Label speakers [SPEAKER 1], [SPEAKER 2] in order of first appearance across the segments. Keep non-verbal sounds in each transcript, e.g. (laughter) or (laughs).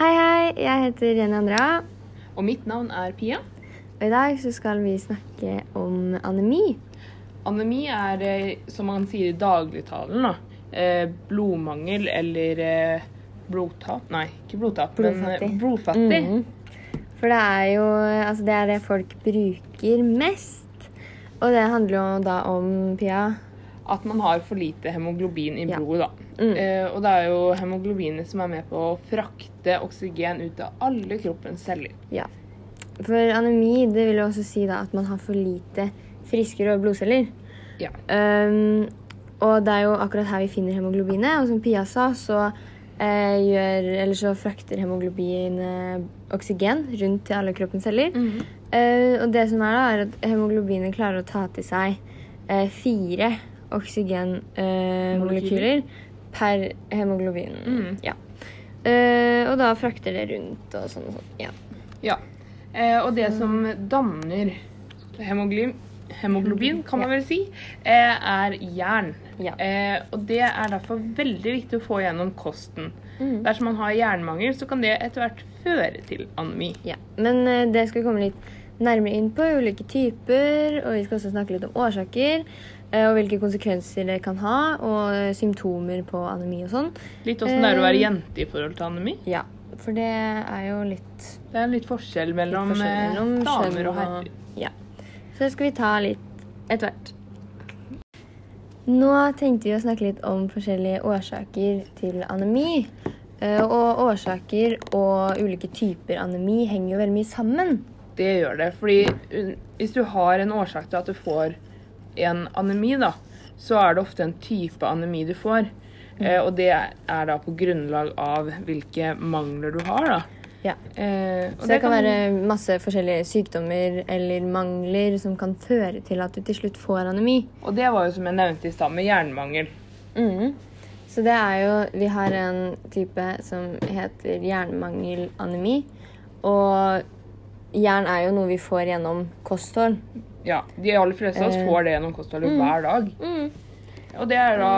[SPEAKER 1] Hei, hei. Jeg heter Jenny Andrea.
[SPEAKER 2] Og mitt navn er Pia.
[SPEAKER 1] Og i dag så skal vi snakke om anemi.
[SPEAKER 2] Anemi er, eh, som man sier i dagligtalen, da, eh, blodmangel eller eh, blodtap Nei, ikke blodtap, men eh,
[SPEAKER 1] Blodfattig.
[SPEAKER 2] blodfattig.
[SPEAKER 1] Mm. For det er jo Altså, det er det folk bruker mest. Og det handler jo da om Pia.
[SPEAKER 2] At man har for lite hemoglobin i
[SPEAKER 1] Ja.
[SPEAKER 2] blodet, da.
[SPEAKER 1] Mm.
[SPEAKER 2] Eh, og det er jo hemoglobinet som er med på å frakte oksygen ut av alle kroppens celler.
[SPEAKER 1] Ja. For anemi, det vil jo også si da at man har for lite friske røde blodceller.
[SPEAKER 2] Ja.
[SPEAKER 1] Ehm, og det er jo akkurat her vi finner hemoglobinet. Og som Pia sa, så, eh, gjør, eller så frakter hemoglobinet oksygen rundt til alle kroppens celler.
[SPEAKER 2] Mm.
[SPEAKER 1] Eh, og det som er da, er at hemoglobinet klarer å ta til seg eh, fire oksygenmolekyler
[SPEAKER 2] Molekyler.
[SPEAKER 1] per hemoglobin.
[SPEAKER 2] Mm.
[SPEAKER 1] Ja. Eh, og da frakter det rundt og sånn og sånn. Ja.
[SPEAKER 2] Ja. Eh, og det som danner hemoglobin, hemoglobin kan man vel si, eh, er jern.
[SPEAKER 1] Ja.
[SPEAKER 2] Eh, og det er derfor veldig viktig å få gjennom kosten.
[SPEAKER 1] Mhm.
[SPEAKER 2] Dersom man har jernmangel, så kan det etter hvert føre til anemi.
[SPEAKER 1] Ja, men eh, det skal vi komme litt nærmere inn på, ulike typer, og vi skal også snakke litt om årsaker, eh, og hvilke konsekvenser det kan ha, og eh, symptomer på anemi og sånn.
[SPEAKER 2] Litt åssen det er å være
[SPEAKER 1] Eh.
[SPEAKER 2] jente i forhold til anemi.
[SPEAKER 1] Ja, for det er jo litt,
[SPEAKER 2] Det er litt forskjell
[SPEAKER 1] litt
[SPEAKER 2] mellom,
[SPEAKER 1] forskjell
[SPEAKER 2] eh,
[SPEAKER 1] mellom
[SPEAKER 2] damer
[SPEAKER 1] kjønn
[SPEAKER 2] og herrer.
[SPEAKER 1] Ja, så det skal vi ta litt etter hvert. Nå tenkte vi å snakke litt om forskjellige årsaker til anemi, eh, og årsaker og ulike typer anemi henger jo veldig mye sammen.
[SPEAKER 2] Det gjør det. Fordi uh, hvis du har en årsak til at du får en anemi, da, så er det ofte en type anemi du får.
[SPEAKER 1] Mm.
[SPEAKER 2] Eh, og det er da på grunnlag av hvilke mangler du har, da.
[SPEAKER 1] Ja.
[SPEAKER 2] Eh, og
[SPEAKER 1] Så det kan være masse forskjellige sykdommer eller mangler som kan føre til at du til slutt får anemi.
[SPEAKER 2] Og det var jo som jeg nevnte i stad, med jernmangel.
[SPEAKER 1] Mm. Så det er jo Vi har en type som heter jernmangelanemi. Og jern er jo noe vi får gjennom kosthold.
[SPEAKER 2] Ja, De aller fleste av oss
[SPEAKER 1] Eh,
[SPEAKER 2] får det gjennom kostholdet hver dag. Og det er da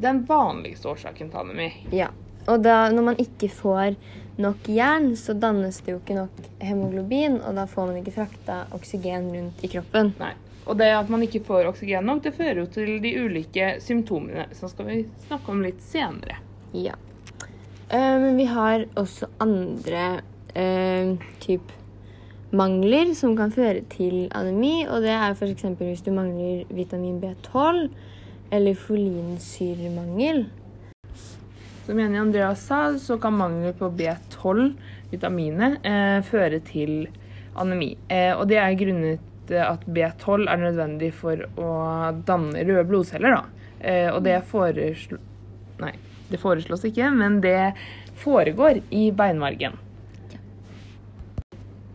[SPEAKER 2] den vanligste årsaken til anemi.
[SPEAKER 1] Ja. Og da, når man ikke får nok jern, så dannes det jo ikke nok hemoglobin, og da får man ikke frakta oksygen rundt i kroppen.
[SPEAKER 2] Nei. Og det at man ikke får oksygen nok, det fører jo til de ulike symptomene, som skal vi snakke om litt senere.
[SPEAKER 1] Ja. Eh, Men vi har også andre eh, typ mangler som kan føre til anemi, og det er f.eks. hvis du mangler vitamin B12 eller folinsyremangel.
[SPEAKER 2] Som Jenny Andrea sa, så kan mangel på B12, vitaminet, eh, føre til anemi. Eh, og det er grunnet eh, at B12 er nødvendig for å danne røde blodceller, da. Eh, og det foreslå... Nei, det foreslås ikke, men det foregår i beinmargen.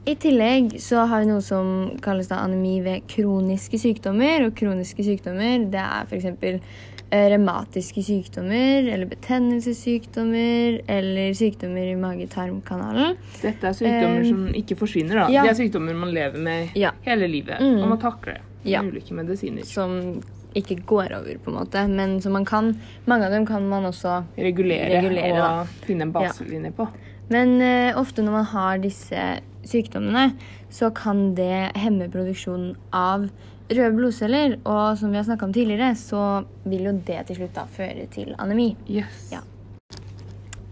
[SPEAKER 1] I tillegg så har vi noe som kalles da anemi ved kroniske sykdommer. Og kroniske sykdommer det er f.eks. revmatiske sykdommer eller betennelsessykdommer eller sykdommer i mage-tarm-kanalen.
[SPEAKER 2] Dette er sykdommer
[SPEAKER 1] Eh,
[SPEAKER 2] som ikke forsvinner, da.
[SPEAKER 1] ja.
[SPEAKER 2] Det er sykdommer man lever med
[SPEAKER 1] Ja.
[SPEAKER 2] hele livet,
[SPEAKER 1] Mm.
[SPEAKER 2] og man takler
[SPEAKER 1] Ja.
[SPEAKER 2] med ulike medisiner.
[SPEAKER 1] som ikke går over, på en måte, men som man kan. Mange av dem kan man også.
[SPEAKER 2] Regulere,
[SPEAKER 1] Regulere,
[SPEAKER 2] og
[SPEAKER 1] da.
[SPEAKER 2] finne en baselinje på.
[SPEAKER 1] Men eh, ofte når man har disse sykdommene, så kan det hemme produksjonen av røde blodceller. Og som vi har snakka om tidligere, så vil jo det til slutt da føre til anemi.
[SPEAKER 2] Yes.
[SPEAKER 1] Ja.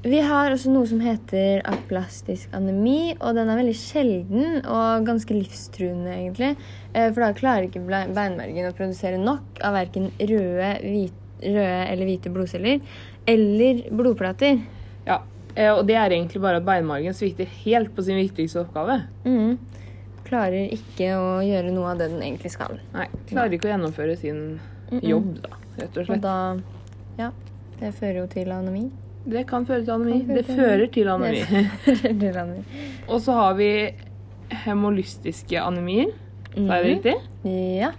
[SPEAKER 1] Vi har også noe som heter aplastisk anemi, og den er veldig sjelden og ganske livstruende, egentlig. Eh, For da klarer ikke ble- beinmargen å produsere nok av verken røde, hvit, røde eller hvite blodceller eller blodplater.
[SPEAKER 2] Ja, eh, og det er egentlig bare at beinmargen svikter helt på sin viktigste oppgave.
[SPEAKER 1] Mhm. Klarer ikke å gjøre noe av det den egentlig skal.
[SPEAKER 2] Nei, klarer ikke å gjennomføre sin jobb, da, rett og
[SPEAKER 1] Og
[SPEAKER 2] slett.
[SPEAKER 1] da Ja, det fører jo til
[SPEAKER 2] (laughs)
[SPEAKER 1] anemi.
[SPEAKER 2] Det kan føre til anemi.
[SPEAKER 1] Kan føre
[SPEAKER 2] Det
[SPEAKER 1] til
[SPEAKER 2] fører til
[SPEAKER 1] Det
[SPEAKER 2] anemi.
[SPEAKER 1] fører til anemi.
[SPEAKER 2] (laughs) Og så har vi hemolystiske anemier. Sa jeg det riktig?
[SPEAKER 1] Mm. Ja.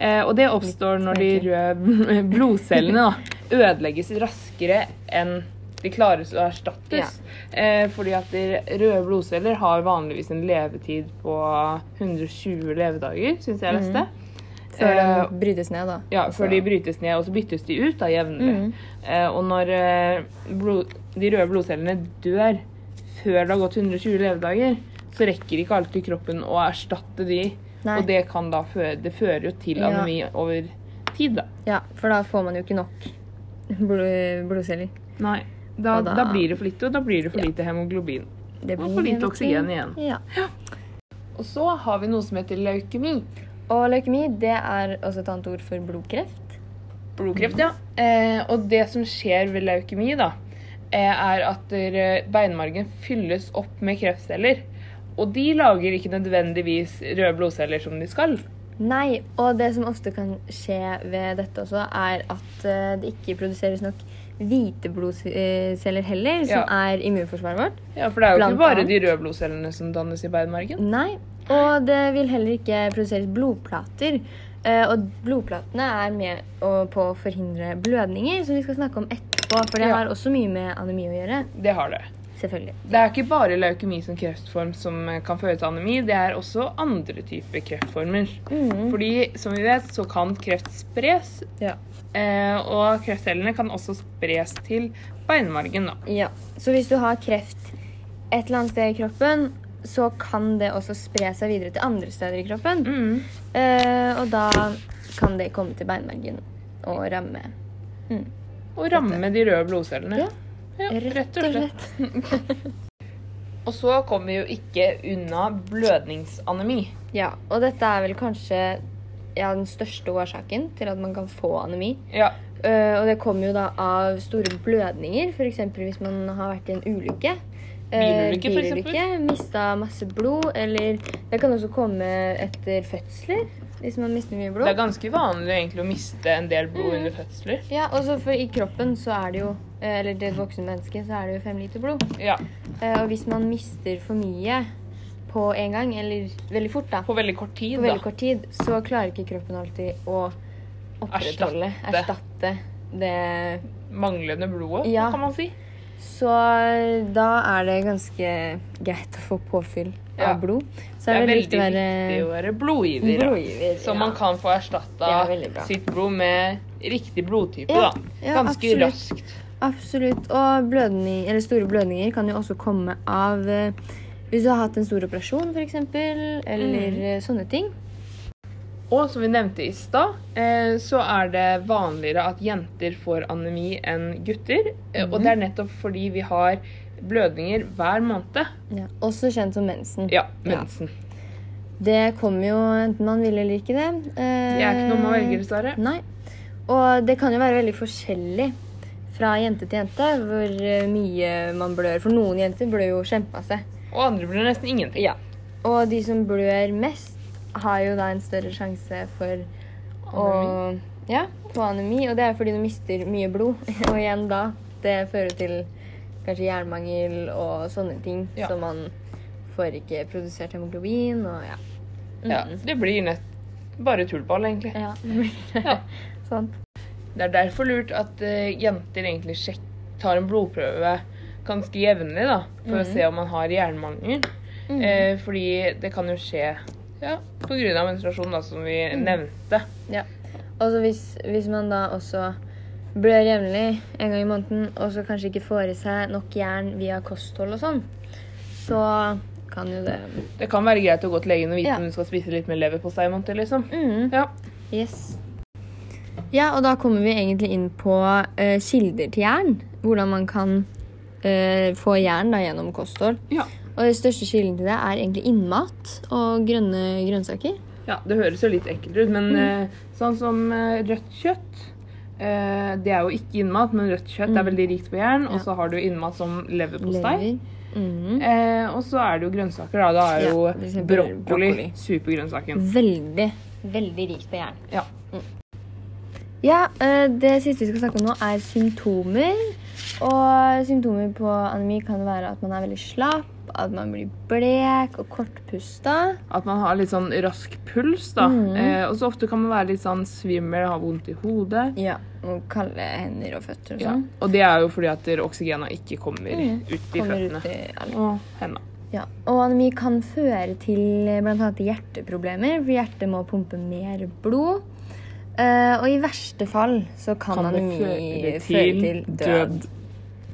[SPEAKER 2] Eh, og det oppstår når de røde (laughs) blodcellene da, ødelegges raskere enn de klares å erstattes. Eh, fordi at de røde blodceller har vanligvis en levetid på 120 levedager, syns jeg jeg leste.
[SPEAKER 1] Før
[SPEAKER 2] Eh,
[SPEAKER 1] den brytes ned, da.
[SPEAKER 2] Ja, før
[SPEAKER 1] Altså-
[SPEAKER 2] de brytes ned, og så byttes de ut da,
[SPEAKER 1] Mm.
[SPEAKER 2] jevnlig. Eh, og når eh, blod, de røde blodcellene dør før det har gått 120 levedager, så rekker ikke alltid kroppen å erstatte de.
[SPEAKER 1] Nei.
[SPEAKER 2] Og det, kan da føre, det fører jo til
[SPEAKER 1] Ja.
[SPEAKER 2] anemi over tid, da.
[SPEAKER 1] Ja, for da får man jo ikke nok blod, blodceller.
[SPEAKER 2] Nei. Da,
[SPEAKER 1] Og da-
[SPEAKER 2] da, blir det for lite, og da blir det for lite hemoglobin.
[SPEAKER 1] Det
[SPEAKER 2] Og for lite oksygen igjen.
[SPEAKER 1] Ja.
[SPEAKER 2] Og så har vi noe som heter leukemi.
[SPEAKER 1] Og leukemi det er også et annet ord for blodkreft.
[SPEAKER 2] Blodkreft, ja. Eh, og det som skjer ved leukemi, da, eh, er at der, eh, beinmargen fylles opp med kreftceller. Og de lager ikke nødvendigvis røde blodceller som de skal.
[SPEAKER 1] Nei, og det som ofte kan skje ved dette også, er at eh, det ikke produseres nok hvite blodceller heller, som
[SPEAKER 2] Ja.
[SPEAKER 1] er immunforsvaret vårt.
[SPEAKER 2] Ja, For det er jo
[SPEAKER 1] Blant
[SPEAKER 2] ikke bare
[SPEAKER 1] annet.
[SPEAKER 2] de røde blodcellene som dannes i beinmargen.
[SPEAKER 1] Nei, og det vil heller ikke produseres blodplater. Eh, og blodplatene er med å- på å forhindre blødninger, som vi skal snakke om etterpå. For det
[SPEAKER 2] Ja.
[SPEAKER 1] har også mye med anemi å gjøre.
[SPEAKER 2] Det har det.
[SPEAKER 1] Selvfølgelig.
[SPEAKER 2] Det er ikke bare leukemi som kreftform som eh, kan føre til anemi, det er også andre typer kreftformer.
[SPEAKER 1] Mm.
[SPEAKER 2] Fordi som vi vet, så kan kreft spres,
[SPEAKER 1] Ja.
[SPEAKER 2] eh, og kreftcellene kan også spres til beinmargen, da.
[SPEAKER 1] Ja, så hvis du har kreft et eller annet sted i kroppen, så kan det også spre seg videre til andre steder i kroppen.
[SPEAKER 2] Mm.
[SPEAKER 1] Eh, og da kan det komme til beinmargen og ramme.
[SPEAKER 2] Og ramme de røde blodcellene.
[SPEAKER 1] Ja.
[SPEAKER 2] Ja, rett og slett. Og så kommer vi jo ikke unna blødningsanemi.
[SPEAKER 1] Ja, og dette er vel kanskje ja, den største årsaken til at man kan få anemi.
[SPEAKER 2] Ja.
[SPEAKER 1] Eh, og det kommer jo da av store blødninger, f.eks. hvis man har vært i en ulykke. Eh,
[SPEAKER 2] Bilulykke, for eksempel.
[SPEAKER 1] bilulykke, Mista masse blod, eller det kan også komme etter fødsler. Hvis man mister mye
[SPEAKER 2] Det er
[SPEAKER 1] blod.
[SPEAKER 2] ganske vanlig egentlig å miste en del blod under fødsler.
[SPEAKER 1] Ja, og så for i kroppen så er det jo eh, Eller til et voksen menneske så er det jo fem liter blod.
[SPEAKER 2] Ja,
[SPEAKER 1] Eh, Og hvis man mister for mye på en gang, eller veldig fort, da,
[SPEAKER 2] På veldig kort tid,
[SPEAKER 1] på veldig
[SPEAKER 2] da.
[SPEAKER 1] kort tid, så klarer ikke kroppen alltid å opprettholde,
[SPEAKER 2] Erstatte.
[SPEAKER 1] erstatte det.
[SPEAKER 2] Manglende blodet,
[SPEAKER 1] Ja.
[SPEAKER 2] kan man si.
[SPEAKER 1] Så da er det ganske greit å få påfyll
[SPEAKER 2] Ja.
[SPEAKER 1] av blod. Så er
[SPEAKER 2] Det er
[SPEAKER 1] det
[SPEAKER 2] veldig
[SPEAKER 1] viktig å være
[SPEAKER 2] viktig å være blodgiver. da.
[SPEAKER 1] blodgiver.
[SPEAKER 2] Så man kan få erstatta
[SPEAKER 1] Det er veldig bra.
[SPEAKER 2] sitt blod med riktig blodtype,
[SPEAKER 1] Ja,
[SPEAKER 2] da.
[SPEAKER 1] ja,
[SPEAKER 2] Ganske
[SPEAKER 1] absolutt.
[SPEAKER 2] raskt.
[SPEAKER 1] Absolutt. Og blødning, eller store blødninger kan jo også komme av eh, hvis du har hatt en stor operasjon, f.eks., eller
[SPEAKER 2] Mm.
[SPEAKER 1] eh, sånne ting.
[SPEAKER 2] Og som vi nevnte i stad, eh, så er det vanligere at jenter får anemi enn gutter. eh, Og
[SPEAKER 1] Mhm.
[SPEAKER 2] det er nettopp fordi vi har blødninger hver måned.
[SPEAKER 1] Ja. Også kjent som mensen.
[SPEAKER 2] Ja, mensen.
[SPEAKER 1] Det kommer jo enten man vil eller ikke det. Eh,
[SPEAKER 2] Det er ikke noe man velger, dessverre.
[SPEAKER 1] Nei. Og det kan jo være veldig forskjellig fra jente til jente hvor eh, mye man blør. For noen jenter blør jo kjempemasse.
[SPEAKER 2] Og andre blir nesten ingenting.
[SPEAKER 1] Ja. Og de som blør mest, har jo da en større sjanse for å ja, få anemi. Og det er fordi du mister mye blod. (laughs) Og igjen da, det fører til kanskje jernmangel og sånne ting.
[SPEAKER 2] Ja.
[SPEAKER 1] Så man får ikke produsert hemoglobin og ja. Mm.
[SPEAKER 2] Ja, det blir nett bare tullball, egentlig.
[SPEAKER 1] Ja, det blir det.
[SPEAKER 2] Ja.
[SPEAKER 1] (laughs) Sant.
[SPEAKER 2] Det er derfor lurt at eh, jenter egentlig sjek tar en blodprøve ganske jevnlig, da, for
[SPEAKER 1] Mhm.
[SPEAKER 2] å se om man har jernmangel. Eh, fordi det kan jo skje ja, på grunn av menstruasjon, da, som vi
[SPEAKER 1] Mhm.
[SPEAKER 2] nevnte.
[SPEAKER 1] Ja. Og så hvis, hvis man da også blør jevnlig en gang i måneden, og så kanskje ikke får i seg nok jern via kosthold og sånn, så kan jo det
[SPEAKER 2] Det kan være greit å gå til legen og vite
[SPEAKER 1] Ja.
[SPEAKER 2] om du skal spise litt mer leverpostei i måneden, liksom.
[SPEAKER 1] mm,
[SPEAKER 2] Ja.
[SPEAKER 1] Yes. Ja, og da kommer vi egentlig inn på eh, kilder til jern. Hvordan man kan eh, få jern da, gjennom kosthold.
[SPEAKER 2] Ja.
[SPEAKER 1] Og den største kilden til det er egentlig innmat og grønne grønnsaker.
[SPEAKER 2] Det høres jo litt ekkelt ut, men
[SPEAKER 1] Mm.
[SPEAKER 2] eh, sånn som eh, rødt kjøtt eh, Det er jo ikke innmat, men rødt kjøtt er veldig rikt på jern. Og så har du innmat som leverpostei.
[SPEAKER 1] Mm. Lever. Mm.
[SPEAKER 2] Eh, og så er det jo grønnsaker, da. Da er
[SPEAKER 1] Ja,
[SPEAKER 2] jo
[SPEAKER 1] for eksempel
[SPEAKER 2] brokkoli,
[SPEAKER 1] brokkoli. Mm.
[SPEAKER 2] supergrønnsaken.
[SPEAKER 1] Veldig, veldig rikt på jern. Mm.
[SPEAKER 2] Ja.
[SPEAKER 1] Ja, eh, det siste vi skal snakke om nå, er symptomer. Og symptomer på anemi kan være at man er veldig slapp, at man blir blek og kortpusta.
[SPEAKER 2] At man har litt sånn rask puls, da.
[SPEAKER 1] Mm.
[SPEAKER 2] Eh, og så ofte kan man være litt sånn svimmel, ha vondt i hodet.
[SPEAKER 1] Ja, og kalde hender og føtter og
[SPEAKER 2] Ja.
[SPEAKER 1] sånn.
[SPEAKER 2] Og det er jo fordi at oksygena ikke kommer
[SPEAKER 1] Mm.
[SPEAKER 2] ut i
[SPEAKER 1] Kommer
[SPEAKER 2] føttene.
[SPEAKER 1] ut i alt.
[SPEAKER 2] Og henda.
[SPEAKER 1] Ja, og anemi kan føre til bl.a. hjerteproblemer, for hjertet må pumpe mer blod. Eh, og i verste fall så kan,
[SPEAKER 2] Kan det
[SPEAKER 1] anemi
[SPEAKER 2] føre
[SPEAKER 1] føre til,
[SPEAKER 2] til
[SPEAKER 1] død.
[SPEAKER 2] død.